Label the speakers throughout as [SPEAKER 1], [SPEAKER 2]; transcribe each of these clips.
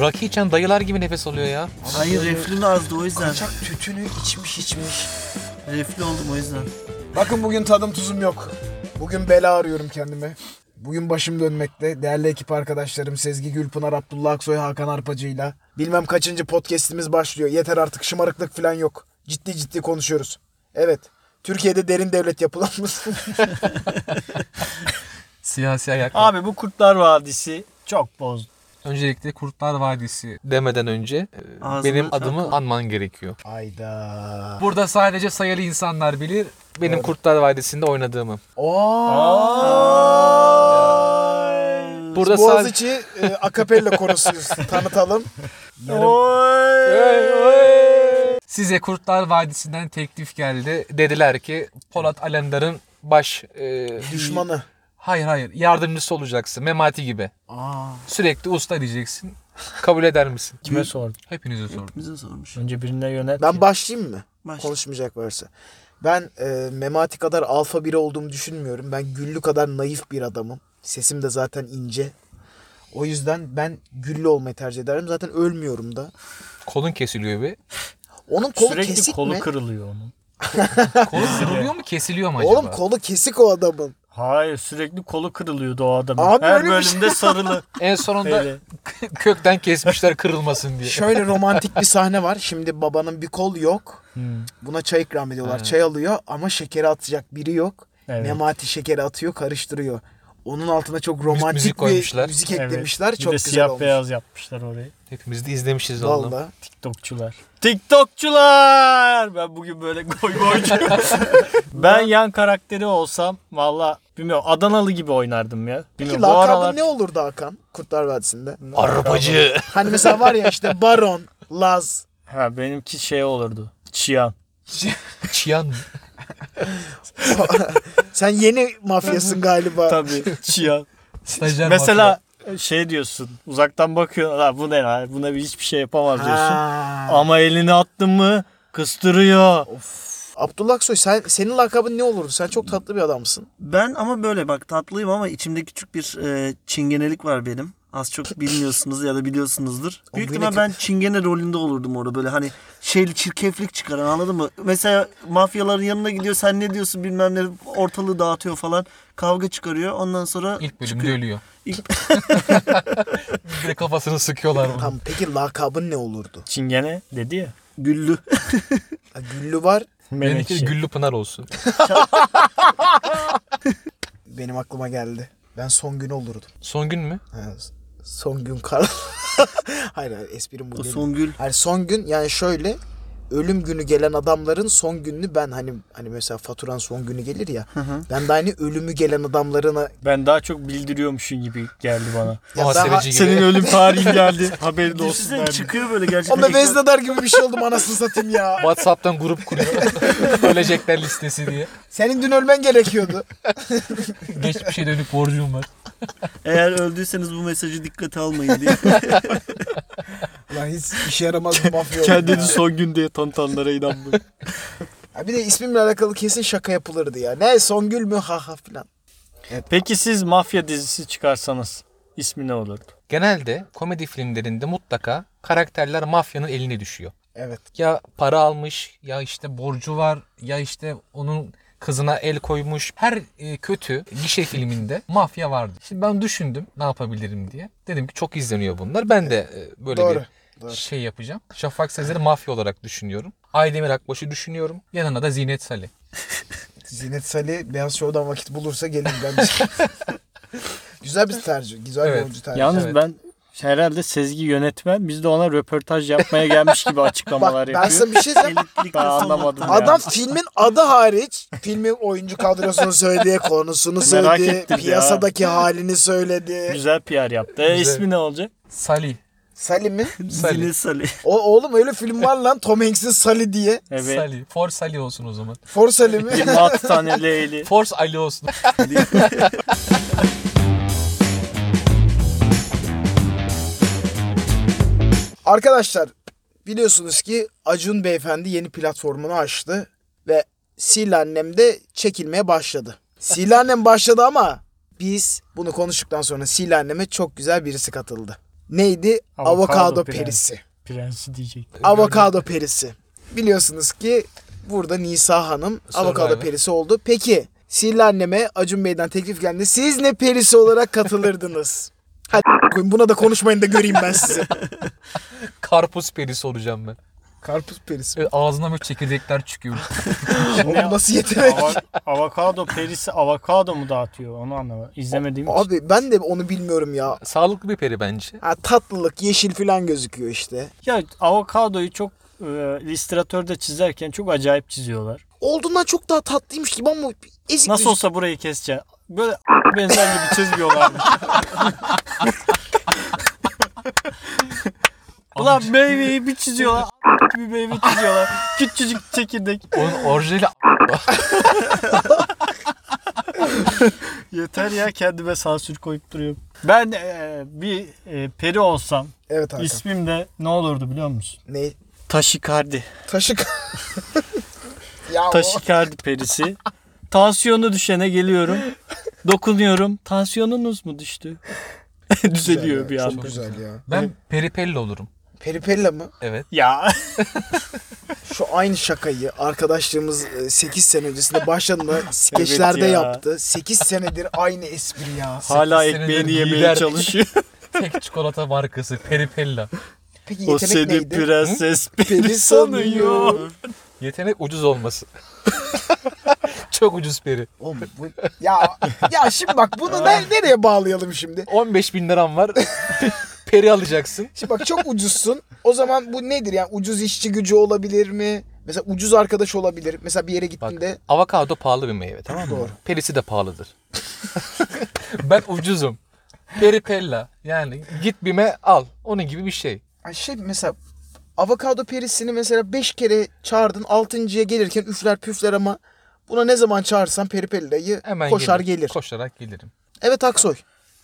[SPEAKER 1] Rakı içen dayılar gibi nefes alıyor ya.
[SPEAKER 2] Hayır reflün azdı o yüzden.
[SPEAKER 3] Kaçak tütünü içmiş içmiş.
[SPEAKER 2] Reflü oldum o yüzden.
[SPEAKER 3] Bakın bugün tadım tuzum yok. Bugün bela arıyorum kendime. Bugün başım dönmekte. Değerli ekip arkadaşlarım Sezgi Gülpınar, Abdullah Aksoy, Hakan Arpacı'yla. Bilmem kaçıncı podcast'imiz başlıyor. Yeter artık şımarıklık falan yok. Ciddi ciddi konuşuyoruz. Evet. Türkiye'de derin devlet yapılanması.
[SPEAKER 4] Siyasi ayak.
[SPEAKER 5] Abi bu Kurtlar Vadisi çok bozdu.
[SPEAKER 4] Öncelikle Kurtlar Vadisi.
[SPEAKER 1] Demeden önce e,
[SPEAKER 2] Ağzını
[SPEAKER 1] benim
[SPEAKER 2] çarpma.
[SPEAKER 1] adımı anman gerekiyor.
[SPEAKER 3] Ayda.
[SPEAKER 4] Burada sadece sayılı insanlar bilir.
[SPEAKER 1] Benim Kurtlar Vadisi'nde oynadığımı. Burada
[SPEAKER 3] Burada
[SPEAKER 1] sadece...
[SPEAKER 3] Hmm. Boğaziçi e, akapella korosuyuz. Tanıtalım.
[SPEAKER 4] Size Kurtlar Vadisi'nden teklif geldi. Dediler ki Polat Alemdar'ın baş e,
[SPEAKER 3] Düşmanı.
[SPEAKER 4] Hayır hayır yardımcısı olacaksın Memati gibi. Sürekli usta diyeceksin. Kabul eder misin?
[SPEAKER 5] Kime sordun?
[SPEAKER 4] Hepinize sordum.
[SPEAKER 2] Bize sormuş.
[SPEAKER 5] Önce birine yönelt.
[SPEAKER 3] Ben başlayayım mı?
[SPEAKER 2] Başla.
[SPEAKER 3] Konuşmayacak varsa. Ben e, Memati kadar alfa biri olduğumu düşünmüyorum. Ben Güllü kadar naif bir adamım. Sesim de zaten ince. O yüzden ben Güllü olmayı tercih ederim. Zaten ölmüyorum da.
[SPEAKER 1] Kolun kesiliyor bir.
[SPEAKER 3] Onun kolu
[SPEAKER 5] Sürekli
[SPEAKER 3] kesik
[SPEAKER 5] kolu
[SPEAKER 3] mi?
[SPEAKER 5] kırılıyor onun.
[SPEAKER 4] Kolu kırılıyor mu kesiliyor mu acaba?
[SPEAKER 3] Oğlum kolu kesik o adamın.
[SPEAKER 5] Hayır sürekli kolu kırılıyordu o adamın.
[SPEAKER 3] Abi
[SPEAKER 5] Her
[SPEAKER 3] öyle bir şey
[SPEAKER 5] bölümde sarılı.
[SPEAKER 4] En sonunda
[SPEAKER 5] Öyle.
[SPEAKER 4] kökten kesmişler kırılmasın diye.
[SPEAKER 3] Şöyle romantik bir sahne var. Şimdi babanın bir kol yok.
[SPEAKER 5] Hmm.
[SPEAKER 3] Buna çay ikram ediyorlar. Çay alıyor ama şekeri atacak biri yok.
[SPEAKER 5] Evet.
[SPEAKER 3] Memati şekeri atıyor, karıştırıyor. Onun altına çok romantik
[SPEAKER 1] müzik
[SPEAKER 3] bir
[SPEAKER 1] koymuşlar.
[SPEAKER 3] müzik
[SPEAKER 5] Evet.
[SPEAKER 3] eklemişler.
[SPEAKER 5] Bir
[SPEAKER 3] Çok
[SPEAKER 5] de
[SPEAKER 3] güzel
[SPEAKER 5] siyah
[SPEAKER 3] olmuş.
[SPEAKER 5] beyaz yapmışlar orayı.
[SPEAKER 1] Hepimiz de izlemişiz onu.
[SPEAKER 3] Vallahi.
[SPEAKER 5] TikTokçular. TikTokçular! Ben bugün böyle goy goycuyum. ben yan karakteri olsam valla bilmiyorum Adanalı gibi oynardım ya.
[SPEAKER 3] Peki
[SPEAKER 5] Bilmiyorum, bu
[SPEAKER 3] lakabın
[SPEAKER 5] aralar...
[SPEAKER 3] ne olurdu Hakan Kurtlar Vadisi'nde?
[SPEAKER 1] Arpacı.
[SPEAKER 3] Hani mesela var ya işte Baron, Laz.
[SPEAKER 5] Ha, benimki şey olurdu. Çiyan.
[SPEAKER 1] Çiyan.
[SPEAKER 3] Sen yeni mafyasın galiba.
[SPEAKER 5] Tabii Çiyan.
[SPEAKER 4] Stajyer
[SPEAKER 5] Mesela şey diyorsun uzaktan bakıyorsun "Ha, bu ne lan buna bir hiçbir şey yapamaz diyorsun.
[SPEAKER 3] Ha.
[SPEAKER 5] Ama elini attın mı kıstırıyor.
[SPEAKER 3] Abdullah Soy sen, senin lakabın ne olurdu? Sen çok tatlı bir adamsın.
[SPEAKER 2] Ben ama böyle bak tatlıyım ama içimde küçük bir e, çingenelik var benim. Az çok bilmiyorsunuz ya da biliyorsunuzdur. Büyük
[SPEAKER 3] yine
[SPEAKER 2] ihtimal ben çingene rolünde olurdum orada böyle hani şeyli çirkeflik çıkaran anladın mı? Mesela mafyaların yanına gidiyor sen ne diyorsun bilmem ne ortalığı dağıtıyor falan. Kavga çıkarıyor ondan sonra
[SPEAKER 4] İlk bölümde
[SPEAKER 2] çıkıyor.
[SPEAKER 4] ölüyor.
[SPEAKER 2] İlk-
[SPEAKER 4] Bir de kafasını sıkıyorlar bunu.
[SPEAKER 3] Tamam peki lakabın ne olurdu?
[SPEAKER 5] Çingene dedi ya.
[SPEAKER 2] Güllü.
[SPEAKER 3] Ha, Güllü var.
[SPEAKER 5] Menekşe.
[SPEAKER 1] Benimki
[SPEAKER 3] şey.
[SPEAKER 1] Güllü Pınar olsun.
[SPEAKER 3] Benim aklıma geldi. Ben son gün olurdum.
[SPEAKER 1] Son gün mü?
[SPEAKER 3] Ha, son gün kar. hayır hayır esprim bu
[SPEAKER 2] O
[SPEAKER 3] değil.
[SPEAKER 2] Songül.
[SPEAKER 3] Hani son gün yani şöyle ölüm günü gelen adamların son gününü ben hani hani mesela faturan son günü gelir ya. Ben de hani ölümü gelen adamlarına
[SPEAKER 5] Ben daha çok bildiriyormuşum gibi geldi bana.
[SPEAKER 3] Ya
[SPEAKER 1] Muhasebeci gibi.
[SPEAKER 5] Senin ölüm tarihin geldi. Haberin olsun
[SPEAKER 2] Düşünsene
[SPEAKER 5] derdi.
[SPEAKER 2] çıkıyor böyle gerçekten.
[SPEAKER 3] Onda veznedar gibi bir şey oldum anasını satayım ya.
[SPEAKER 4] Whatsapp'tan grup kuruyor. Ölecekler listesi diye.
[SPEAKER 3] Senin dün ölmen gerekiyordu.
[SPEAKER 4] Geçmişe dönük borcum var.
[SPEAKER 2] Eğer öldüyseniz bu mesajı dikkate almayın diye.
[SPEAKER 3] Ulan hiç işe yaramaz bir mafya oldum
[SPEAKER 5] Kendini
[SPEAKER 3] ya.
[SPEAKER 5] son gün diye tanıtanlara inanmıyor.
[SPEAKER 3] Ha Bir de ismimle alakalı kesin şaka yapılırdı ya. Ne Songül mü ha ha filan.
[SPEAKER 5] Peki siz mafya dizisi çıkarsanız ismi ne olurdu?
[SPEAKER 1] Genelde komedi filmlerinde mutlaka karakterler mafyanın eline düşüyor.
[SPEAKER 3] Evet.
[SPEAKER 1] Ya para almış, ya işte borcu var, ya işte onun kızına el koymuş. Her e, kötü gişe filminde mafya vardı. Şimdi ben düşündüm ne yapabilirim diye. Dedim ki çok izleniyor bunlar. Ben de e, böyle
[SPEAKER 3] Doğru,
[SPEAKER 1] bir
[SPEAKER 3] doğru.
[SPEAKER 1] şey yapacağım. Şafak Sezer'i mafya olarak düşünüyorum. Aydemir Akbaş'ı düşünüyorum. Yanına da Zinet Salih.
[SPEAKER 3] Zinet Salih Beyaz Show'dan vakit bulursa gelin bence. güzel bir tercih. Güzel bir
[SPEAKER 1] Evet.
[SPEAKER 3] oyuncu tercih.
[SPEAKER 5] Yalnız
[SPEAKER 1] Evet.
[SPEAKER 5] ben herhalde Sezgi yönetmen biz de ona röportaj yapmaya gelmiş gibi
[SPEAKER 3] Bak
[SPEAKER 5] açıklamalar
[SPEAKER 3] ben
[SPEAKER 5] yapıyor.
[SPEAKER 3] sana bir şey söyleyeyim.
[SPEAKER 2] Elitlikte
[SPEAKER 5] Ben anlamadım ya.
[SPEAKER 3] Adam filmin adı hariç filmin oyuncu kadrosunu söyledi, konusunu
[SPEAKER 5] Merak
[SPEAKER 3] söyledi,
[SPEAKER 5] ettim ya.
[SPEAKER 3] piyasadaki halini söyledi.
[SPEAKER 5] Güzel PR yaptı. E, ismi ne olacak?
[SPEAKER 4] Salih.
[SPEAKER 3] Salih mi?
[SPEAKER 2] Zine Salih.
[SPEAKER 3] O, oğlum öyle film var lan Tom Hanks'in Salih diye.
[SPEAKER 5] Evet.
[SPEAKER 4] Salih. Force Salih olsun o zaman.
[SPEAKER 3] For Salih mi?
[SPEAKER 5] 26 tane Leyli.
[SPEAKER 4] Force Ali olsun.
[SPEAKER 3] Arkadaşlar biliyorsunuz ki Acun Beyefendi yeni platformunu açtı ve Sil Annem de çekilmeye başladı. Sil Annem başladı ama biz bunu konuştuktan sonra Sil Annem'e çok güzel birisi katıldı. neydi? Avokado,
[SPEAKER 5] Avokado prens.
[SPEAKER 3] perisi.
[SPEAKER 5] Prensi diyecek.
[SPEAKER 3] Avokado perisi. Biliyorsunuz ki burada Nisa Hanım avokado
[SPEAKER 1] Survivor.
[SPEAKER 3] perisi oldu. Peki Sihirli anneme Acun Bey'den teklif geldi. Siz ne perisi olarak katılırdınız? Hadi koyun buna da konuşmayın da göreyim ben sizi.
[SPEAKER 1] Karpuz perisi olacağım ben.
[SPEAKER 3] Karpuz perisi.
[SPEAKER 1] Böyle ağzından böyle çekirdekler çıkıyor.
[SPEAKER 3] Oğlum nasıl yetenek?
[SPEAKER 5] Ava- avokado perisi avokado mu dağıtıyor onu anlamadım. İzlemediğim için.
[SPEAKER 3] Abi ben de onu bilmiyorum ya.
[SPEAKER 1] Sağlıklı bir peri bence.
[SPEAKER 3] Ha, tatlılık, yeşil falan gözüküyor işte.
[SPEAKER 5] Ya avokadoyu çok e, illüstratörde çizerken çok acayip çiziyorlar.
[SPEAKER 3] Olduğundan çok daha tatlıymış gibi ama ezik
[SPEAKER 5] Nasıl
[SPEAKER 3] düzük.
[SPEAKER 5] olsa burayı keseceğim. Böyle benzer gibi çizmiyorlar. Ulan meyveyi bir çiziyorlar. bir meyve çiziyorlar. Küçücük çekirdek.
[SPEAKER 1] Onun orijinali
[SPEAKER 5] Yeter ya kendime sansür koyup duruyorum. Ben e, bir e, peri olsam
[SPEAKER 3] Evet Hakan.
[SPEAKER 5] ismim de ne olurdu biliyor musun?
[SPEAKER 3] Ne?
[SPEAKER 5] Taşikardi.
[SPEAKER 3] Taşık. ya o-
[SPEAKER 5] Taşikardi perisi. Tansiyonu düşene geliyorum. Dokunuyorum. Tansiyonunuz mu düştü? Düzeliyor bir
[SPEAKER 3] Çok
[SPEAKER 5] anda.
[SPEAKER 3] güzel ya.
[SPEAKER 1] ben peripelli olurum.
[SPEAKER 3] Peripella mı?
[SPEAKER 1] Evet.
[SPEAKER 5] Ya
[SPEAKER 3] Şu aynı şakayı arkadaşlığımız 8 sene öncesinde başladığında skeçlerde
[SPEAKER 5] ya.
[SPEAKER 3] yaptı. 8 senedir aynı espri ya.
[SPEAKER 5] hala
[SPEAKER 1] senedir
[SPEAKER 5] ekmeğini yemeye
[SPEAKER 1] lider.
[SPEAKER 5] çalışıyor.
[SPEAKER 1] Tek çikolata markası peripella.
[SPEAKER 3] Peki
[SPEAKER 5] o
[SPEAKER 3] yetenek
[SPEAKER 5] seni
[SPEAKER 3] neydi?
[SPEAKER 5] prenses peri
[SPEAKER 3] Peri sanıyor.
[SPEAKER 5] sanıyor.
[SPEAKER 1] Yetenek ucuz olması. Çok ucuz peri.
[SPEAKER 3] Oğlum bu- ya, ya şimdi bak bunu ne- nereye bağlayalım şimdi?
[SPEAKER 1] 15 bin liram var. peri alacaksın.
[SPEAKER 3] Şimdi bak çok ucuzsun. O zaman bu nedir yani ucuz işçi gücü olabilir mi? Mesela ucuz arkadaş olabilir. Mesela bir yere gittiğinde
[SPEAKER 1] Avokado pahalı bir meyve tamam mı?
[SPEAKER 3] Doğru.
[SPEAKER 1] Perisi de pahalıdır. ben ucuzum. Peripella. Yani git bime al. Onun gibi bir şey.
[SPEAKER 3] Ay şey mesela avokado perisini mesela 5 kere çağırdın 6.ya gelirken üfler püfler ama buna ne zaman çağırsan peripellayı
[SPEAKER 1] Hemen
[SPEAKER 3] koşar gelir.
[SPEAKER 1] Koşarak gelirim.
[SPEAKER 3] Evet Aksoy.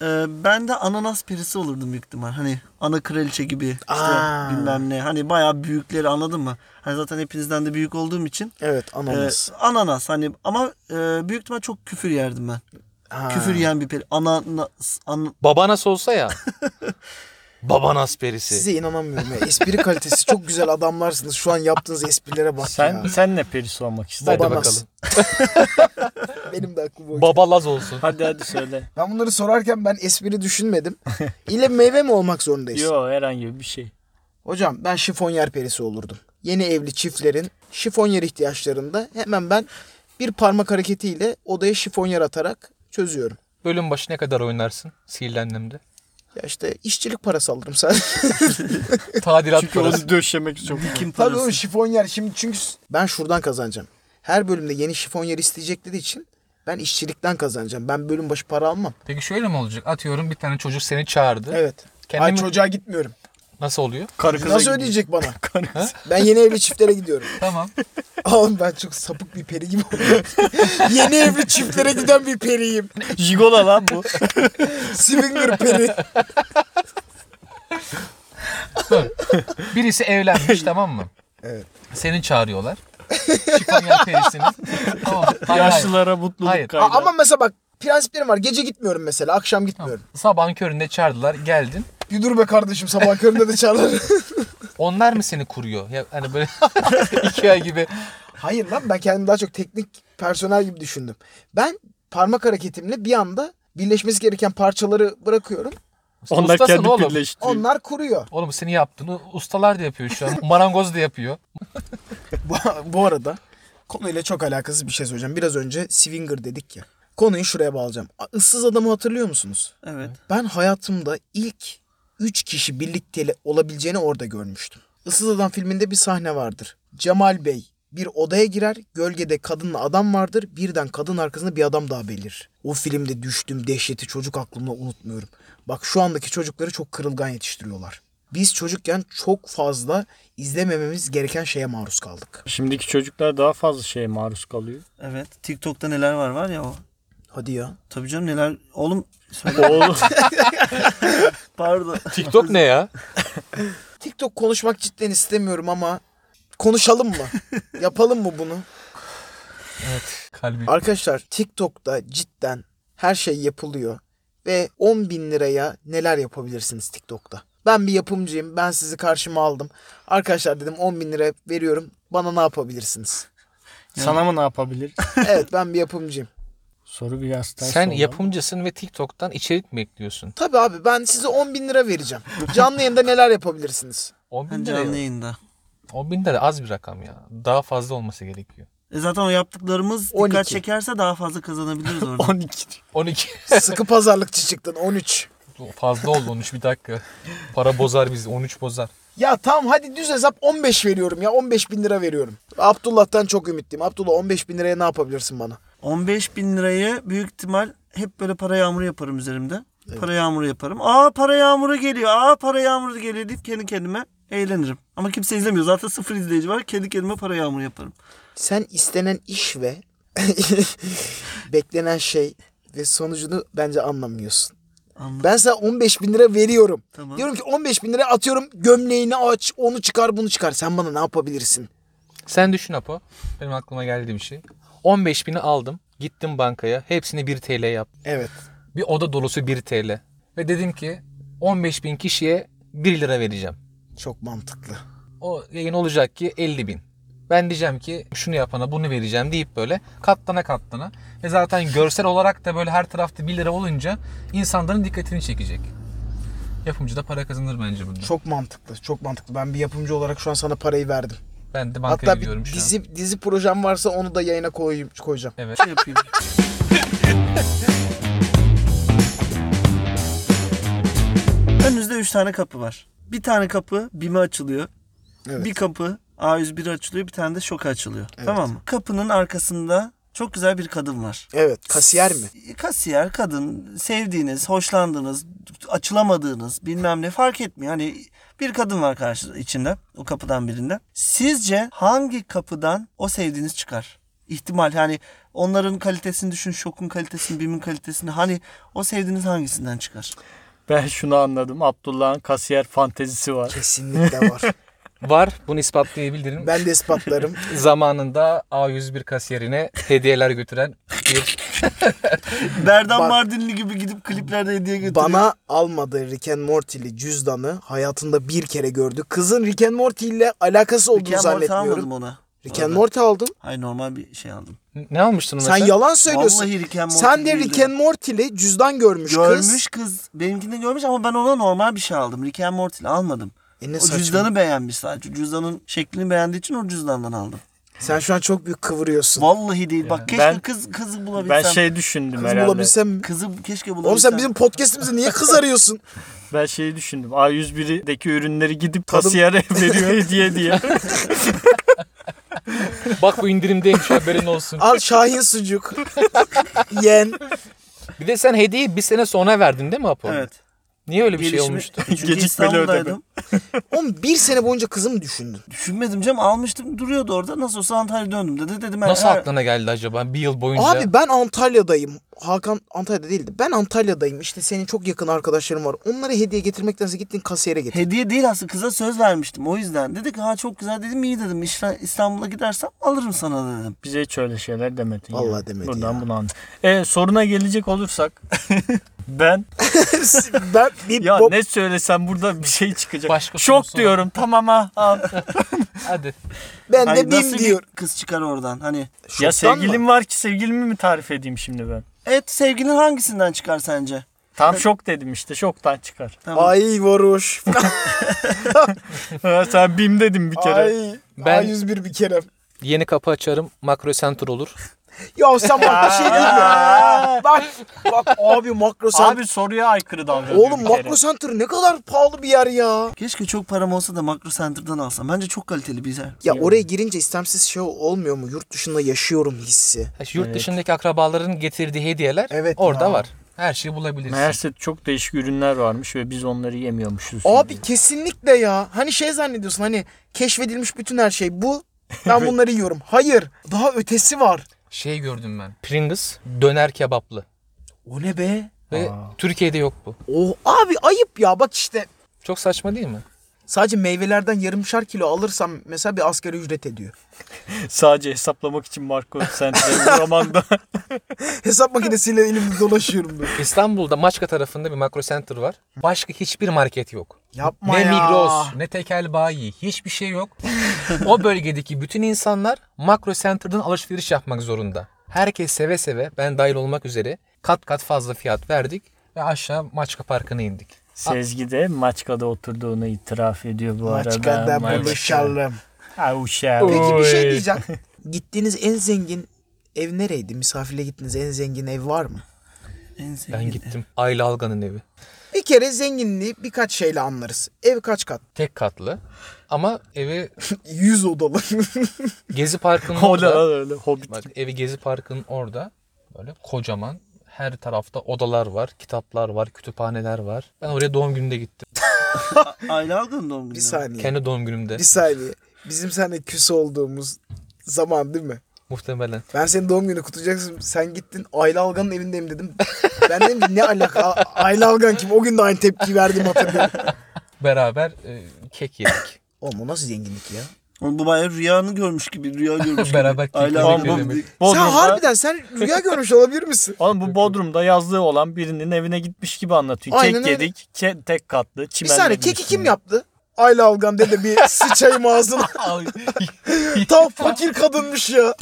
[SPEAKER 2] Ee, ben de ananas perisi olurdum büyük ihtimal. Hani ana kraliçe gibi işte
[SPEAKER 3] Aa.
[SPEAKER 2] bilmem ne. Hani bayağı büyükleri anladın mı? Hani zaten hepinizden de büyük olduğum için.
[SPEAKER 3] Evet
[SPEAKER 2] Ee, ananas hani ama e, büyük ihtimal çok küfür yerdim ben. Küfür yiyen bir peri. Ananas. An,
[SPEAKER 1] Babanas olsa ya. Babanas perisi.
[SPEAKER 3] Size inanamıyorum ya. Espri kalitesi çok güzel adamlarsınız. Şu an yaptığınız esprilere bak
[SPEAKER 5] Sen
[SPEAKER 3] ya.
[SPEAKER 5] sen ne perisi olmak isterdin?
[SPEAKER 1] Hadi
[SPEAKER 3] Babanas.
[SPEAKER 1] bakalım.
[SPEAKER 3] Benim de aklım o.
[SPEAKER 1] Babalaz olsun.
[SPEAKER 5] Hadi hadi söyle.
[SPEAKER 3] ben bunları sorarken ben espri düşünmedim. İle meyve mi olmak zorundayız?
[SPEAKER 5] Yo herhangi bir şey.
[SPEAKER 3] Hocam ben şifonyer perisi olurdum. Yeni evli çiftlerin şifonyer ihtiyaçlarında hemen ben bir parmak hareketiyle odaya şifonyer atarak çözüyorum.
[SPEAKER 1] Bölüm başı ne kadar oynarsın sihirli annemde?
[SPEAKER 3] Ya işte işçilik parası alırım sadece.
[SPEAKER 1] Tadilat
[SPEAKER 5] Çünkü
[SPEAKER 1] parası.
[SPEAKER 5] onu döşemek çok
[SPEAKER 2] kim
[SPEAKER 3] Tabii
[SPEAKER 2] parası?
[SPEAKER 3] oğlum şifonyer şimdi çünkü ben şuradan kazanacağım. Her bölümde yeni şifonyer isteyecekleri için ben işçilikten kazanacağım. Ben bölüm başı para almam.
[SPEAKER 1] Peki şöyle mi olacak? Atıyorum bir tane çocuk seni çağırdı.
[SPEAKER 3] Evet.
[SPEAKER 1] Kendimi-
[SPEAKER 3] Ay çocuğa gitmiyorum.
[SPEAKER 1] Nasıl oluyor?
[SPEAKER 5] karı kıza
[SPEAKER 3] Nasıl
[SPEAKER 5] gidiyor.
[SPEAKER 3] ödeyecek bana?
[SPEAKER 5] Karı kıza.
[SPEAKER 3] Ben yeni evli çiftlere gidiyorum.
[SPEAKER 1] Tamam.
[SPEAKER 3] Oğlum ben çok sapık bir peri gibi oldum. yeni evli çiftlere giden bir periyim.
[SPEAKER 5] Jigola lan bu.
[SPEAKER 3] Swinger peri.
[SPEAKER 1] Birisi evlenmiş tamam mı?
[SPEAKER 3] Evet.
[SPEAKER 1] Seni çağırıyorlar. Şifonyer perisini. tamam. Hayır, hayır.
[SPEAKER 5] Yaşlılara mutluluk
[SPEAKER 1] Hayır.
[SPEAKER 5] kaynağı.
[SPEAKER 3] A- ama mesela bak prensiplerim var. Gece gitmiyorum mesela. Akşam gitmiyorum.
[SPEAKER 1] Sabahın köründe çağırdılar. Geldin.
[SPEAKER 3] Bir dur be kardeşim sabah köründe de çağırır.
[SPEAKER 1] Onlar mı seni kuruyor? Ya, hani böyle iki ay gibi.
[SPEAKER 3] Hayır lan ben kendimi daha çok teknik personel gibi düşündüm. Ben parmak hareketimle bir anda birleşmesi gereken parçaları bırakıyorum.
[SPEAKER 5] Onlar
[SPEAKER 1] Ustasın
[SPEAKER 5] kendi
[SPEAKER 1] oğlum.
[SPEAKER 5] birleştiriyor.
[SPEAKER 3] Onlar kuruyor.
[SPEAKER 1] Oğlum seni yaptığını ustalar da yapıyor şu an. Marangoz da yapıyor.
[SPEAKER 3] Bu, bu arada konuyla çok alakasız bir şey söyleyeceğim. Biraz önce swinger dedik ya. Konuyu şuraya bağlayacağım. A- Issız adamı hatırlıyor musunuz?
[SPEAKER 2] Evet.
[SPEAKER 3] Ben hayatımda ilk 3 kişi birlikte olabileceğini orada görmüştüm. Issız Adam filminde bir sahne vardır. Cemal Bey bir odaya girer, gölgede kadınla adam vardır, birden kadın arkasında bir adam daha belir. O filmde düştüğüm dehşeti çocuk aklımda unutmuyorum. Bak şu andaki çocukları çok kırılgan yetiştiriyorlar. Biz çocukken çok fazla izlemememiz gereken şeye maruz kaldık.
[SPEAKER 5] Şimdiki çocuklar daha fazla şeye maruz kalıyor.
[SPEAKER 2] Evet. TikTok'ta neler var var ya o.
[SPEAKER 3] Hadi ya.
[SPEAKER 2] Tabii canım neler. Oğlum söyle.
[SPEAKER 5] Oğlum
[SPEAKER 2] Pardon.
[SPEAKER 1] TikTok ne ya?
[SPEAKER 3] TikTok konuşmak cidden istemiyorum ama konuşalım mı? Yapalım mı bunu?
[SPEAKER 1] Kalbim.
[SPEAKER 3] Arkadaşlar TikTok'ta cidden her şey yapılıyor ve 10 bin liraya neler yapabilirsiniz TikTok'ta? Ben bir yapımcıyım. Ben sizi karşıma aldım. Arkadaşlar dedim 10 bin lira veriyorum. Bana ne yapabilirsiniz?
[SPEAKER 5] Sana mı ne yapabilir?
[SPEAKER 3] evet ben bir yapımcıyım.
[SPEAKER 5] Soru biraz ters
[SPEAKER 1] Sen
[SPEAKER 5] oldu.
[SPEAKER 1] yapımcısın ve TikTok'tan içerik mi ekliyorsun?
[SPEAKER 3] Tabii abi ben size 10 bin lira vereceğim. Canlı yayında neler yapabilirsiniz?
[SPEAKER 1] 10 bin
[SPEAKER 2] Hani
[SPEAKER 1] lira,
[SPEAKER 2] canlı yayında.
[SPEAKER 1] 10 bin lira az bir rakam ya. Daha fazla olması gerekiyor.
[SPEAKER 2] E zaten o yaptıklarımız dikkat
[SPEAKER 3] 12.
[SPEAKER 2] çekerse daha fazla kazanabiliriz orada.
[SPEAKER 5] 12 diyor.
[SPEAKER 1] 12
[SPEAKER 3] Sıkı pazarlıkçı çıktın 13.
[SPEAKER 1] fazla oldu 13 bir dakika. Para bozar bizi 13 bozar.
[SPEAKER 3] Ya tamam hadi düz hesap 15 veriyorum ya 15 bin lira veriyorum. Abdullah'tan çok ümitliyim. Abdullah 15 bin liraya ne yapabilirsin bana?
[SPEAKER 2] 15 bin lirayı büyük ihtimal hep böyle para yağmuru yaparım üzerimde. Para yağmuru yaparım. Aa para yağmuru geliyor. Aa para yağmuru geliyor deyip kendi kendime eğlenirim. Ama kimse izlemiyor. Zaten sıfır izleyici var. Kendi kendime para yağmuru yaparım.
[SPEAKER 3] Sen istenen iş ve beklenen şey ve sonucunu bence anlamıyorsun.
[SPEAKER 2] Anladım.
[SPEAKER 3] Ben sana 15 bin lira veriyorum.
[SPEAKER 2] Tamam.
[SPEAKER 3] Diyorum ki 15 bin lira atıyorum gömleğini aç onu çıkar bunu çıkar. Sen bana ne yapabilirsin?
[SPEAKER 1] Sen düşün Apo. Benim aklıma geldi bir şey. 15 bini aldım. Gittim bankaya. Hepsini 1 TL yaptım.
[SPEAKER 3] Evet.
[SPEAKER 1] Bir oda dolusu 1 TL. Ve dedim ki 15 bin kişiye 1 lira vereceğim.
[SPEAKER 3] Çok mantıklı.
[SPEAKER 1] O yayın olacak ki 50 bin. Ben diyeceğim ki şunu yapana bunu vereceğim deyip böyle katlana katlana. Ve zaten görsel olarak da böyle her tarafta 1 lira olunca insanların dikkatini çekecek. Yapımcı da para kazanır bence bunda.
[SPEAKER 3] Çok mantıklı. Çok mantıklı. Ben bir yapımcı olarak şu an sana parayı verdim.
[SPEAKER 1] Ben de bankaya
[SPEAKER 3] Hatta
[SPEAKER 1] gidiyorum
[SPEAKER 3] bir
[SPEAKER 1] şu an.
[SPEAKER 3] dizi dizi projem varsa onu da yayına koyayım koyacağım.
[SPEAKER 1] Evet.
[SPEAKER 2] Şey yapayım. Önünüzde 3 tane kapı var. Bir tane kapı BİM'e açılıyor.
[SPEAKER 3] Evet.
[SPEAKER 2] Bir kapı A101 açılıyor. Bir tane de şoka açılıyor. Tamam mı? Kapının arkasında çok güzel bir kadın var.
[SPEAKER 3] Evet. Kasiyer mi?
[SPEAKER 2] Kasiyer kadın sevdiğiniz, hoşlandığınız, açılamadığınız bilmem ne fark etmiyor. Hani bir kadın var karşı içinde o kapıdan birinde. Sizce hangi kapıdan o sevdiğiniz çıkar? İhtimal yani onların kalitesini düşün, şokun kalitesini, bimin kalitesini. Hani o sevdiğiniz hangisinden çıkar?
[SPEAKER 5] Ben şunu anladım. Abdullah'ın kasiyer fantezisi var.
[SPEAKER 3] Kesinlikle var.
[SPEAKER 1] Var. Bunu ispatlayabilirim.
[SPEAKER 3] ben de ispatlarım.
[SPEAKER 1] Zamanında A101 kasiyerine hediyeler götüren bir
[SPEAKER 2] Berdan
[SPEAKER 3] Bak-
[SPEAKER 2] Mardinli gibi gidip kliplerde hediye götürüyor.
[SPEAKER 3] Bana almadığı Rick and Morty'li cüzdanı hayatında bir kere gördü. Kızın Rick and Morty ile alakası olduğunu
[SPEAKER 2] Rick and Morty almadım
[SPEAKER 3] zannetmiyorum.
[SPEAKER 2] ona.
[SPEAKER 3] Rick and Morty aldın.
[SPEAKER 2] Hayır normal bir şey aldım.
[SPEAKER 1] ne almıştın ona
[SPEAKER 3] Sen yalan söylüyorsun.
[SPEAKER 2] Vallahi Rick and Morty
[SPEAKER 3] Sen de
[SPEAKER 2] değildi.
[SPEAKER 3] Rick and Morty'li cüzdan görmüş,
[SPEAKER 2] Görmüş
[SPEAKER 3] kız.
[SPEAKER 2] kız. Benimkini görmüş ama ben ona normal bir şey aldım. Rick and Morty'li almadım.
[SPEAKER 3] E ne
[SPEAKER 2] O
[SPEAKER 3] saçma.
[SPEAKER 2] cüzdanı beğenmiş sadece. Cüzdanın şeklini beğendiği için o cüzdandan aldım.
[SPEAKER 3] Sen şu an çok büyük kıvırıyorsun.
[SPEAKER 2] Vallahi değil. Bak keşke
[SPEAKER 5] Ben-
[SPEAKER 2] kız kızı
[SPEAKER 5] Ben
[SPEAKER 2] bulabilsem.
[SPEAKER 5] şey düşündüm
[SPEAKER 3] Kız
[SPEAKER 5] herhalde.
[SPEAKER 3] bulabilsem mi?
[SPEAKER 2] Kızı keşke bulabilsem.
[SPEAKER 3] Oğlum sen bizim podcast'imizi niye kız arıyorsun?
[SPEAKER 5] Ben şey düşündüm. A101'deki ürünleri gidip kasiyere veriyor hediye diye.
[SPEAKER 1] Bak bu indirimdeymiş haberin olsun.
[SPEAKER 3] Al Şahin sucuk. Yen.
[SPEAKER 1] Bir de sen hediyeyi bir sene sonra verdin değil mi Apo?
[SPEAKER 2] Evet.
[SPEAKER 1] Niye öyle bir şey
[SPEAKER 2] Gelişimi-
[SPEAKER 1] olmuştu?
[SPEAKER 2] Çünkü
[SPEAKER 5] Gecikmeli
[SPEAKER 2] İstanbul'daydım.
[SPEAKER 5] ödeme.
[SPEAKER 3] Oğlum bir sene boyunca kızı mı düşündün?
[SPEAKER 2] Düşünmedim canım almıştım duruyordu orada. Nasıl olsa Antalya'ya döndüm dedi. Dedim ben
[SPEAKER 1] Nasıl
[SPEAKER 2] her-
[SPEAKER 1] aklına geldi acaba bir yıl boyunca?
[SPEAKER 3] Abi ben Antalya'dayım. Hakan Antalya'da değildi. Ben Antalya'dayım. İşte senin çok yakın arkadaşların var. Onlara hediye getirmektense gittin kasiyere getir.
[SPEAKER 2] Hediye değil aslında kıza söz vermiştim o yüzden. Dedi ki ha çok güzel dedim iyi dedim İşte İstanbul'a gidersem alırım sana dedim.
[SPEAKER 5] Bize hiç öyle şeyler demedin.
[SPEAKER 3] Vallahi
[SPEAKER 5] ya.
[SPEAKER 3] demedi
[SPEAKER 5] Buradan
[SPEAKER 3] ya.
[SPEAKER 5] bunu anladım. E, soruna gelecek olursak ben
[SPEAKER 3] ben bir
[SPEAKER 5] ya
[SPEAKER 3] bok-
[SPEAKER 5] ne söylesem burada bir şey çıkacak.
[SPEAKER 1] Başka
[SPEAKER 5] Şok
[SPEAKER 1] sorusu var.
[SPEAKER 5] diyorum. Tamam ha. al.
[SPEAKER 1] Hadi.
[SPEAKER 3] ben
[SPEAKER 2] Hani
[SPEAKER 3] de
[SPEAKER 2] nasıl bir
[SPEAKER 3] bim diyor.
[SPEAKER 2] kız çıkar oradan hani.
[SPEAKER 3] Şoktan
[SPEAKER 5] ya
[SPEAKER 3] mı?
[SPEAKER 5] sevgilim var ki sevgilimi mi tarif edeyim şimdi ben?
[SPEAKER 2] Evet sevgilin hangisinden çıkar sence?
[SPEAKER 5] Tam şok dedim işte. Şoktan çıkar.
[SPEAKER 2] Tamam.
[SPEAKER 3] Ay varoş.
[SPEAKER 5] Ha, Sen bim dedim bir kere.
[SPEAKER 3] Ay.
[SPEAKER 1] Ben-
[SPEAKER 3] A101 bir kere.
[SPEAKER 1] Yeni kapı açarım. Makro center olur.
[SPEAKER 3] Ya sen bak bir şey değil ya. Bak, bak abi makro center.
[SPEAKER 5] Abi soruya aykırı davranıyor
[SPEAKER 3] Oğlum
[SPEAKER 5] bir kere.
[SPEAKER 3] makro center ne kadar pahalı bir yer ya.
[SPEAKER 2] Keşke çok param olsa da Makro Center'dan alsam. Bence çok kaliteli bir yer.
[SPEAKER 3] Ya oraya girince istemsiz şey olmuyor mu? Yurt dışında yaşıyorum hissi.
[SPEAKER 1] Ha, şu Yurt dışındaki akrabaların getirdiği hediyeler
[SPEAKER 3] Evet
[SPEAKER 1] orada
[SPEAKER 3] ya.
[SPEAKER 1] var. Her şeyi bulabilirsin.
[SPEAKER 5] Meğerse çok değişik ürünler varmış ve biz onları yemiyormuşuz.
[SPEAKER 3] Abi kesinlikle ya. Hani şey zannediyorsun hani keşfedilmiş bütün her şey bu. Ben bunları yiyorum. Hayır. Daha ötesi var.
[SPEAKER 1] Şey gördüm ben. Pringles döner kebaplı.
[SPEAKER 3] O ne be?
[SPEAKER 1] Ve Türkiye'de yok bu.
[SPEAKER 3] Oh abi ayıp ya. Bak işte
[SPEAKER 1] Çok saçma değil mi?
[SPEAKER 3] sadece meyvelerden yarımşar kilo alırsam mesela bir asgari ücret ediyor.
[SPEAKER 5] Sadece hesaplamak için Marco Center'in romanda
[SPEAKER 3] Hesap makinesiyle elimde dolaşıyorum ben.
[SPEAKER 1] İstanbul'da Maçka tarafında bir makro center var. Başka hiçbir market yok.
[SPEAKER 6] Yapma
[SPEAKER 1] ne
[SPEAKER 6] ya.
[SPEAKER 1] Migros, ne tekel bayi, hiçbir şey yok. o bölgedeki bütün insanlar Makro Center'dan alışveriş yapmak zorunda. Herkes seve seve, ben dahil olmak üzere kat kat fazla fiyat verdik ve aşağı Maçka Parkı'na indik.
[SPEAKER 5] Sezgi de Maçka'da oturduğunu itiraf ediyor bu arada.
[SPEAKER 6] Maçka'da buluşalım.
[SPEAKER 5] Ha uşağım.
[SPEAKER 3] Peki bir
[SPEAKER 5] Oy.
[SPEAKER 3] şey diyeceğim. Gittiğiniz en zengin ev nereydi? Misafirle gittiğiniz en zengin ev var mı?
[SPEAKER 2] En sevdiğin-
[SPEAKER 1] Ben gittim. Ayla Algan'ın evi.
[SPEAKER 3] Bir kere zenginliği birkaç şeyle anlarız. Ev kaç kat?
[SPEAKER 1] Tek katlı ama evi
[SPEAKER 3] 100 odalı.
[SPEAKER 1] Gezi Parkı'nın
[SPEAKER 5] Öyle
[SPEAKER 1] orada.
[SPEAKER 5] lan öyle. Hobbit.
[SPEAKER 1] Bak evi Gezi Parkı'nın orada. Böyle kocaman. Her tarafta odalar var, kitaplar var, kütüphaneler var. Ben oraya doğum günümde gittim.
[SPEAKER 2] Aile aldın doğum günü.
[SPEAKER 3] bir saniye.
[SPEAKER 1] Kendi doğum günümde
[SPEAKER 3] Bir saniye. Bizim seninle küs olduğumuz zaman değil mi?
[SPEAKER 1] muhtemelen.
[SPEAKER 3] Ben senin doğum günü kutlayacaksın. Sen gittin Ayla Algan'ın evindeyim dedim. Ben dedim ki ne alaka? A- Ayla Algan kim? O gün de aynı tepki verdiğimi hatırlıyorum.
[SPEAKER 1] Beraber e, kek yedik.
[SPEAKER 3] Oğlum o nasıl zenginlik ya?
[SPEAKER 2] Oğlum bu bayağı rüyanı görmüş gibi. Rüya görmüş gibi.
[SPEAKER 1] Beraber
[SPEAKER 2] Aile
[SPEAKER 1] keklemek
[SPEAKER 2] aldın.
[SPEAKER 1] ne demek?
[SPEAKER 3] Sen
[SPEAKER 5] Bodrum'da,
[SPEAKER 3] harbiden sen rüya görmüş olabilir misin?
[SPEAKER 5] oğlum bu Bodrum'da yazlığı olan birinin evine gitmiş gibi anlatıyor.
[SPEAKER 3] Aynen
[SPEAKER 5] kek
[SPEAKER 3] öyle.
[SPEAKER 5] yedik. ke- tek katlı.
[SPEAKER 3] Bir
[SPEAKER 5] Çimenlerin
[SPEAKER 3] saniye keki kim
[SPEAKER 5] üstünde.
[SPEAKER 3] yaptı? Ayla Algan dedi bir sıçayım ağzına.
[SPEAKER 1] Ay,
[SPEAKER 3] Tam fakir kadınmış ya.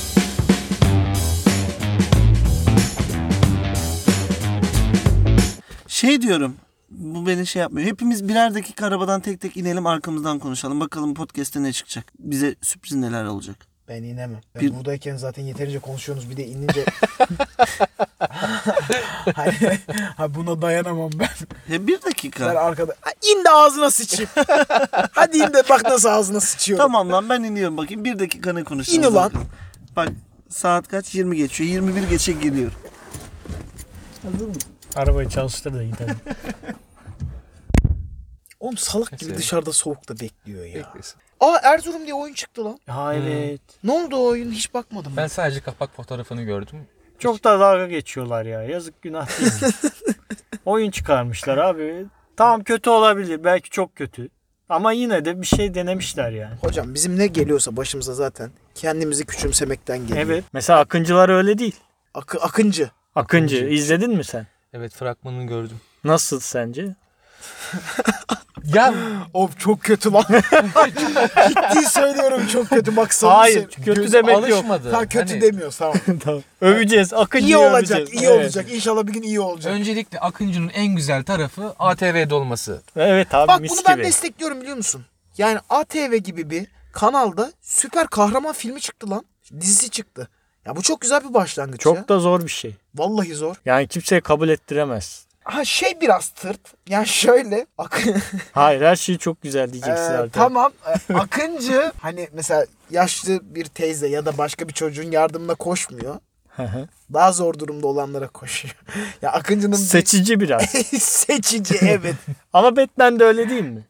[SPEAKER 2] Şey diyorum. Bu beni şey yapmıyor. Hepimiz birer dakika arabadan tek tek inelim arkamızdan konuşalım. Bakalım podcast'te ne çıkacak. Bize sürpriz neler olacak.
[SPEAKER 6] Ben inemem. Ben
[SPEAKER 2] Bir-
[SPEAKER 6] buradayken zaten yeterince konuşuyorsunuz bir de inince. hani, ha buna dayanamam ben.
[SPEAKER 2] He bir
[SPEAKER 6] Ben
[SPEAKER 2] dakika.
[SPEAKER 6] arkada
[SPEAKER 3] Ha, İn de ağzına sıçayım. Hadi in de bak nasıl ağzına sıçıyorum.
[SPEAKER 2] Tamam lan ben iniyorum bakayım. Bir dakika ne konuşacağız.
[SPEAKER 3] İn ulan.
[SPEAKER 2] bakalım. Bak saat kaç? 20 geçiyor. 21 geçe geliyor.
[SPEAKER 5] Arabayı çalıştır da gidelim.
[SPEAKER 3] Oğlum salak gibi
[SPEAKER 1] Neyse.
[SPEAKER 3] dışarıda soğukta bekliyor ya.
[SPEAKER 1] Beklesin.
[SPEAKER 3] Aa Erzurum diye oyun çıktı lan.
[SPEAKER 5] ha evet.
[SPEAKER 3] Ne oldu o oyun? Hiç bakmadım.
[SPEAKER 1] Ben sadece kapak fotoğrafını gördüm.
[SPEAKER 5] Çok da dalga geçiyorlar ya. Yazık günah değil. mi? Oyun çıkarmışlar abi. Tamam kötü olabilir. Belki çok kötü. Ama yine de bir şey denemişler yani.
[SPEAKER 3] Hocam bizim ne geliyorsa başımıza zaten kendimizi küçümsemekten geliyor.
[SPEAKER 5] Evet. Mesela Akıncılar öyle değil.
[SPEAKER 3] Akı, akıncı.
[SPEAKER 5] Akıncı, izledin mi sen?
[SPEAKER 1] Evet fragmanını gördüm.
[SPEAKER 5] Nasıl sence?
[SPEAKER 1] Ya
[SPEAKER 3] Of çok kötü lan. Ciddi söylüyorum çok kötü bak sana
[SPEAKER 5] Hayır,
[SPEAKER 3] söylüyorum.
[SPEAKER 5] kötü
[SPEAKER 1] göz
[SPEAKER 5] demek yok.
[SPEAKER 1] alışmadı.
[SPEAKER 6] tam kötü
[SPEAKER 1] Hani
[SPEAKER 6] demiyoruz tamam.
[SPEAKER 5] Öveceğiz, Akıncı'yı
[SPEAKER 3] İyi olacak,
[SPEAKER 5] öveceğiz.
[SPEAKER 3] iyi
[SPEAKER 5] Evet.
[SPEAKER 3] olacak.
[SPEAKER 6] İnşallah bir gün iyi olacak.
[SPEAKER 1] Öncelikle Akıncı'nın en güzel tarafı ATV'de olması.
[SPEAKER 5] Evet abi
[SPEAKER 3] Bak
[SPEAKER 5] mis
[SPEAKER 3] bunu ben
[SPEAKER 5] gibi.
[SPEAKER 3] destekliyorum biliyor musun? Yani ATV gibi bir kanalda süper kahraman filmi çıktı lan. Dizisi çıktı. Ya bu çok güzel bir başlangıç ya.
[SPEAKER 5] Çok da zor bir şey.
[SPEAKER 3] Vallahi zor.
[SPEAKER 5] Yani kimseye kabul ettiremez.
[SPEAKER 3] Ha şey biraz tırt. Yani şöyle. Akın...
[SPEAKER 5] Hayır her şey çok güzel
[SPEAKER 3] Ee,
[SPEAKER 5] diyeceksin zaten.
[SPEAKER 3] tamam. Ee, Akıncı hani mesela yaşlı bir teyze ya da başka bir çocuğun yardımına koşmuyor.
[SPEAKER 5] Hı hı.
[SPEAKER 3] Daha zor durumda olanlara koşuyor. ya Akıncı'nın bir-
[SPEAKER 5] Seçici biraz.
[SPEAKER 3] seçici evet.
[SPEAKER 5] Ama Batman de öyle değil mi?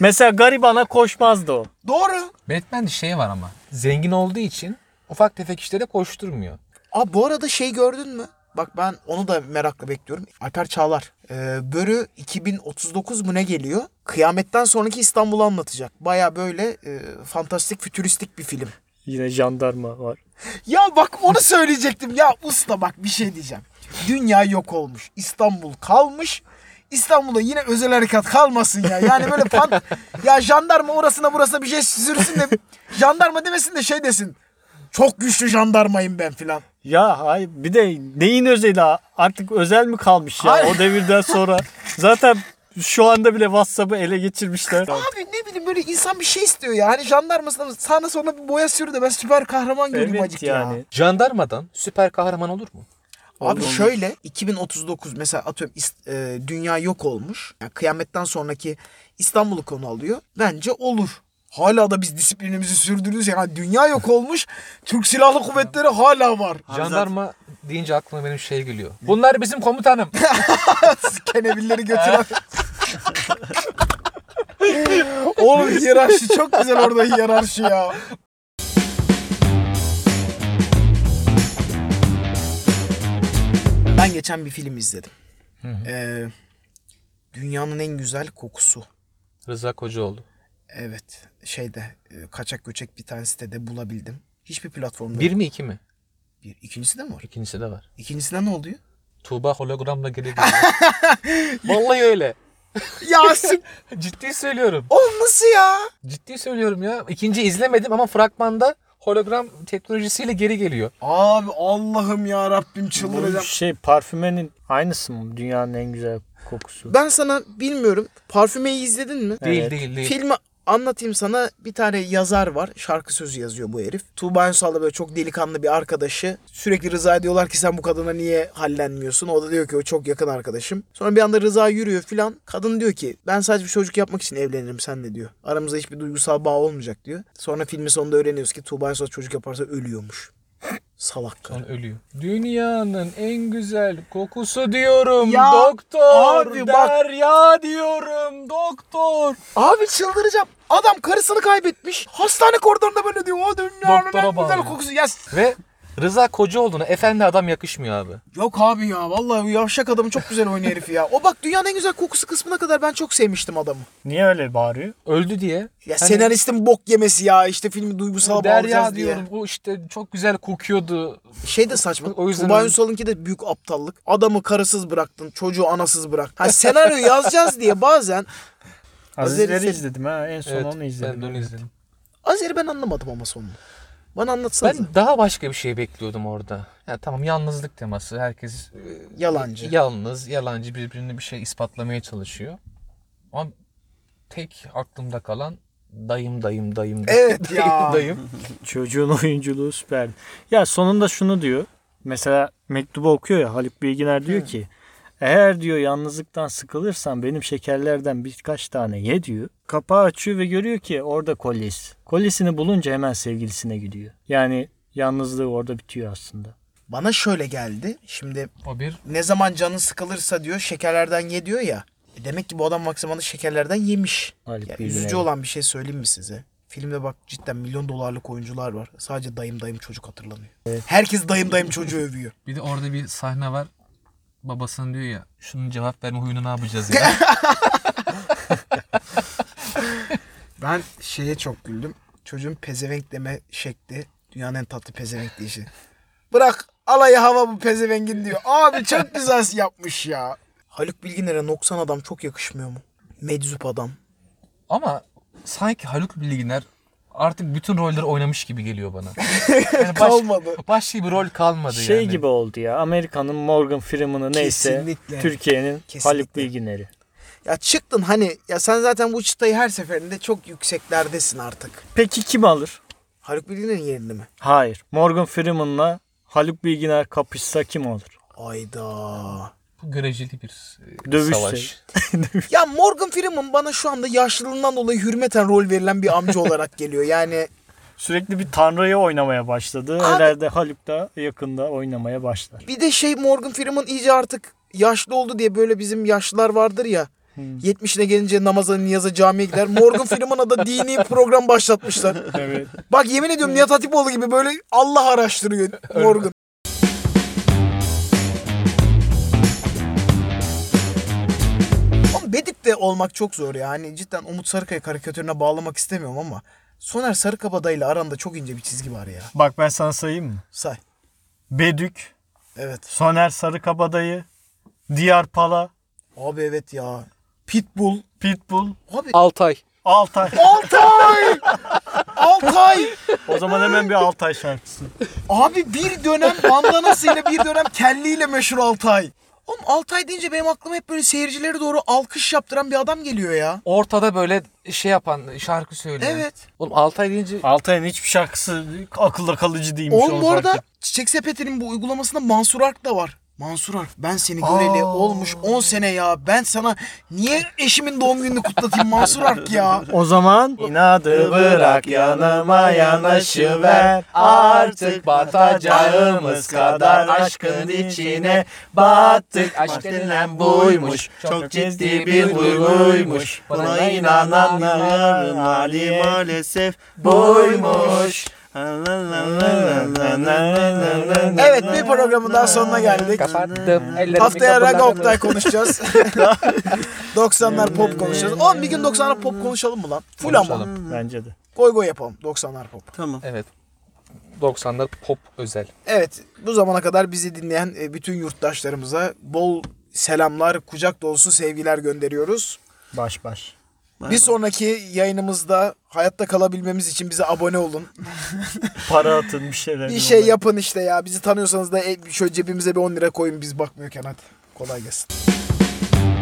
[SPEAKER 5] Mesela garibana koşmazdı o.
[SPEAKER 3] Doğru.
[SPEAKER 1] Batman'de şey var ama. Zengin olduğu için ufak tefek işlere koşturmuyor.
[SPEAKER 3] Aa bu arada şey gördün mü? Bak ben onu da merakla bekliyorum. Alper Çağlar. Ee, Börü 2039 mu ne geliyor? Kıyametten sonraki İstanbul'u anlatacak. Baya böyle e, fantastik, fütüristik bir film.
[SPEAKER 5] Yine jandarma var.
[SPEAKER 3] Ya bak onu söyleyecektim. Ya usta bak bir şey diyeceğim. Dünya yok olmuş. İstanbul kalmış. İstanbul'da yine özel harekat kalmasın ya. Yani böyle pan... ya jandarma orasına burasına bir şey sürsün de jandarma demesin de şey desin. Çok güçlü jandarmayım ben filan.
[SPEAKER 5] Ya hayır bir de neyin özeli ha? artık özel mi kalmış ya
[SPEAKER 3] Hayır.
[SPEAKER 5] o devirden sonra? Zaten şu anda bile WhatsApp'ı ele geçirmişler.
[SPEAKER 3] Abi ne bileyim böyle insan bir şey istiyor ya. Hani jandarmasına sağına soluna bir boya sür de ben süper kahraman göreyim
[SPEAKER 5] evet
[SPEAKER 3] acık ya.
[SPEAKER 5] yani.
[SPEAKER 1] Jandarmadan süper kahraman olur mu?
[SPEAKER 3] Abi şöyle 2039 mesela atıyorum is- e, dünya yok olmuş. Yani kıyametten sonraki İstanbul'u konu alıyor. Bence olur. Hala da biz disiplinimizi sürdürüyoruz. Yani dünya yok olmuş. Türk Silahlı Kuvvetleri hala var.
[SPEAKER 1] Jandarma deyince aklıma benim şey geliyor. Bunlar bizim komutanım.
[SPEAKER 3] Kenebilleri götüren. Oğlum hiyerarşi çok güzel orada hiyerarşi ya. Ben geçen bir film izledim. Ee, Dünyanın en güzel kokusu.
[SPEAKER 1] Rıza Kocaoğlu.
[SPEAKER 3] Evet. Şeyde e, kaçak göçek bir tane sitede bulabildim. Hiçbir platformda
[SPEAKER 1] Bir
[SPEAKER 3] yok.
[SPEAKER 1] mi iki mi?
[SPEAKER 3] Bir. İkincisi de mi var?
[SPEAKER 1] İkincisi de var.
[SPEAKER 3] İkincisinde ne oluyor?
[SPEAKER 1] Tuğba hologramla geri geliyor. Vallahi öyle.
[SPEAKER 3] Yasin.
[SPEAKER 1] Ciddi söylüyorum.
[SPEAKER 3] Oğlum nasıl ya?
[SPEAKER 1] Ciddi söylüyorum ya. İkinci izlemedim ama fragmanda hologram teknolojisiyle geri geliyor.
[SPEAKER 3] Abi Allah'ım ya Rabbim
[SPEAKER 5] Bu
[SPEAKER 3] çıldıracağım.
[SPEAKER 5] şey parfümenin aynısı mı? Dünyanın en güzel kokusu.
[SPEAKER 3] Ben sana bilmiyorum parfümeyi izledin mi?
[SPEAKER 1] Değil
[SPEAKER 5] Evet.
[SPEAKER 1] değil değil.
[SPEAKER 3] Filmi anlatayım sana bir tane yazar var. Şarkı sözü yazıyor bu herif. Tuğba Ünsal'da böyle çok delikanlı bir arkadaşı. Sürekli Rıza'ya diyorlar ki sen bu kadına niye hallenmiyorsun? O da diyor ki o çok yakın arkadaşım. Sonra bir anda Rıza yürüyor filan. Kadın diyor ki ben sadece bir çocuk yapmak için evlenirim senle diyor. Aramızda hiçbir duygusal bağ olmayacak diyor. Sonra filmin sonunda öğreniyoruz ki Tuğba Ünsal çocuk yaparsa ölüyormuş. Salak kadın.
[SPEAKER 1] Sonra ölüyor. Dünyanın en güzel kokusu diyorum
[SPEAKER 3] Ya
[SPEAKER 1] doktor.
[SPEAKER 3] abi bak-
[SPEAKER 1] derya diyorum doktor.
[SPEAKER 3] Abi çıldıracağım. Adam karısını kaybetmiş. Hastane koridorunda böyle diyor. O dünyanın
[SPEAKER 1] Doktora
[SPEAKER 3] en güzel
[SPEAKER 1] bağlıyor.
[SPEAKER 3] kokusu. Ya
[SPEAKER 1] Ve Rıza koca olduğuna efendi adam yakışmıyor abi.
[SPEAKER 3] Yok abi ya vallahi bu yavşak adamı çok güzel oynuyor herif ya. O bak dünyanın en güzel kokusu kısmına kadar ben çok sevmiştim adamı.
[SPEAKER 5] Niye öyle bağırıyor?
[SPEAKER 1] Öldü diye.
[SPEAKER 3] Ya
[SPEAKER 1] Hani-
[SPEAKER 3] senaristin bok yemesi ya işte filmi duygusal
[SPEAKER 1] Derya
[SPEAKER 3] bağlayacağız diye.
[SPEAKER 1] diyorum bu işte çok güzel kokuyordu.
[SPEAKER 3] Şey de saçma.
[SPEAKER 1] O yüzden hani-
[SPEAKER 3] Tuğba
[SPEAKER 1] öyle.
[SPEAKER 3] Ünsal'ınki de büyük aptallık. Adamı karısız bıraktın, çocuğu anasız bıraktın. Ha senaryo yazacağız diye bazen
[SPEAKER 5] Azizleri
[SPEAKER 3] Azizleri-
[SPEAKER 5] izledim ha. En son
[SPEAKER 1] Evet,
[SPEAKER 5] onu izledim.
[SPEAKER 1] Ben de onu izledim.
[SPEAKER 3] Azeri ben anlamadım ama sonunu. Bana anlatsanız.
[SPEAKER 1] Ben daha başka bir şey bekliyordum orada. Ya tamam yalnızlık teması. Herkes e,
[SPEAKER 3] Yalancı.
[SPEAKER 1] yalnız, yalancı birbirini bir şey ispatlamaya çalışıyor. Ama tek aklımda kalan dayım dayım dayım.
[SPEAKER 3] Evet
[SPEAKER 1] dayım,
[SPEAKER 3] ya.
[SPEAKER 1] Dayım.
[SPEAKER 5] Çocuğun oyunculuğu süper. Ya sonunda şunu diyor. Mesela mektubu okuyor ya Haluk Bilginer diyor ki eğer diyor yalnızlıktan sıkılırsan benim şekerlerden birkaç tane ye diyor. Kapağı açıyor ve görüyor ki orada kolyesi. Kolyesini bulunca hemen sevgilisine gidiyor. Yani yalnızlığı orada bitiyor aslında.
[SPEAKER 3] Bana şöyle geldi. Şimdi
[SPEAKER 1] O bir
[SPEAKER 3] ne zaman canın sıkılırsa diyor şekerlerden ye diyor ya. E demek ki bu adam maksimumda şekerlerden yemiş.
[SPEAKER 5] Haluk
[SPEAKER 3] Ya
[SPEAKER 5] Bilginer.
[SPEAKER 3] üzücü olan bir şey söyleyeyim mi size? Filmde bak cidden milyon dolarlık oyuncular var. Sadece dayım dayım çocuk hatırlanıyor. Herkes dayım dayım çocuğu övüyor.
[SPEAKER 1] bir de orada bir sahne var. Babasının diyor ya şunun cevap verme huyunu ne yapacağız ya.
[SPEAKER 3] Ben şeye çok güldüm. Çocuğun pezevenk deme şekli dünyanın en tatlı pezevenk deyişi. Bırak alayı hava bu pezevengin diyor. Abi çok güzel yapmış ya. Haluk Bilginer'e 90 adam çok yakışmıyor mu? Meczup adam.
[SPEAKER 1] Ama sanki Haluk Bilginer artık bütün rolleri oynamış gibi geliyor bana. Yani baş-
[SPEAKER 3] Kalmadı.
[SPEAKER 1] Başka bir rol kalmadı
[SPEAKER 5] Şey
[SPEAKER 1] yani.
[SPEAKER 5] gibi oldu ya. Amerika'nın Morgan Freeman'ı neyse
[SPEAKER 3] Kesinlikle.
[SPEAKER 5] Türkiye'nin Haluk
[SPEAKER 3] Kesinlikle.
[SPEAKER 5] Bilginer'i.
[SPEAKER 3] Ya çıktın hani ya sen zaten bu çıtayı her seferinde çok yükseklerdesin artık.
[SPEAKER 5] Peki kim alır?
[SPEAKER 3] Haluk Bilginer'in yerini mi?
[SPEAKER 5] Hayır. Morgan Freeman'la Haluk Bilginer kapışsa kim olur?
[SPEAKER 3] Ayda.
[SPEAKER 1] Bu göreceli bir e,
[SPEAKER 5] Dövüş
[SPEAKER 1] savaş.
[SPEAKER 3] Ya Morgan Freeman bana şu anda yaşlılığından dolayı hürmeten rol verilen bir amca olarak geliyor. Yani
[SPEAKER 5] Sürekli bir tanrıyı oynamaya başladı.
[SPEAKER 3] Abi-
[SPEAKER 5] Herhalde Haluk da yakında oynamaya başlar.
[SPEAKER 3] bir de şey Morgan Freeman iyice artık yaşlı oldu diye böyle bizim yaşlılar vardır ya. 70'ine gelince namaza, niyaza, camiye gider. Morgan Freeman'a da dini program başlatmışlar.
[SPEAKER 5] Evet.
[SPEAKER 3] Bak yemin ediyorum Nihat Hatipoğlu gibi böyle Allah araştırıyor Morgan. Ama Bedik de olmak çok zor ya. Hani cidden Umut Sarıkaya karikatürüne bağlamak istemiyorum ama Soner Sarıkabada ile aranda çok ince bir çizgi var ya.
[SPEAKER 5] Bak ben sana sayayım mı?
[SPEAKER 3] Say.
[SPEAKER 5] Bedük,
[SPEAKER 3] Evet.
[SPEAKER 5] Soner Sarıkabadayı, Diyar Pala,
[SPEAKER 3] Abi evet ya. Pitbull.
[SPEAKER 5] Pitbull,
[SPEAKER 3] Abi
[SPEAKER 1] Altay.
[SPEAKER 5] Altay.
[SPEAKER 3] Altay! Altay!
[SPEAKER 5] o zaman hemen bir Altay şarkısı.
[SPEAKER 3] Abi bir dönem bandanasıyla bir dönem kelliyle meşhur Altay. Oğlum Altay deyince benim aklıma hep böyle seyircilere doğru alkış yaptıran bir adam geliyor ya.
[SPEAKER 1] Ortada böyle şey yapan şarkı söyleyen.
[SPEAKER 3] Evet.
[SPEAKER 1] Oğlum Altay deyince
[SPEAKER 5] Altay'ın hiçbir şarkısı akılda kalıcı değilmiş.
[SPEAKER 3] Oğlum
[SPEAKER 5] onu
[SPEAKER 3] bu
[SPEAKER 5] fark
[SPEAKER 3] arada
[SPEAKER 5] ettim.
[SPEAKER 3] Çiçek Sepeti'nin bu uygulamasında Mansur Ark da var. Mansur Ark ben seni göreli olmuş 10 sene ya. Ben sana niye eşimin doğum gününü kutlatayım Mansur Ark ya.
[SPEAKER 5] O zaman inadı bırak yanıma yanaşıver Artık batacağımız kadar aşkın içine battık Aşk denilen buymuş çok ciddi bir duyguymuş Buna inananların hali
[SPEAKER 2] maalesef
[SPEAKER 5] buymuş.
[SPEAKER 3] Evet bir programın daha sonuna geldik.
[SPEAKER 1] kapattım ellerimi
[SPEAKER 3] Haftaya
[SPEAKER 1] kapılarını-
[SPEAKER 3] Raga Oktay konuşacağız. 90'lar pop konuşacağız. Oğlum bir gün 90'lar pop konuşalım mı lan? Full ama.
[SPEAKER 1] Konuşalım.
[SPEAKER 5] Bence de.
[SPEAKER 3] Goy goy yapalım 90'lar pop.
[SPEAKER 2] Tamam.
[SPEAKER 1] Evet. 90'lar pop özel.
[SPEAKER 3] Evet bu zamana kadar bizi dinleyen e, bütün yurttaşlarımıza bol selamlar, kucak dolusu sevgiler gönderiyoruz.
[SPEAKER 5] Baş baş.
[SPEAKER 2] Bay
[SPEAKER 3] Bir
[SPEAKER 2] bay.
[SPEAKER 3] sonraki yayınımızda hayatta kalabilmemiz için bize abone olun.
[SPEAKER 5] Para atın bir şeyler.
[SPEAKER 3] Bir şey yapın işte ya. Bizi tanıyorsanız da e, şöyle cebimize bir 10 lira koyun biz bakmıyorken hadi. Kolay gelsin.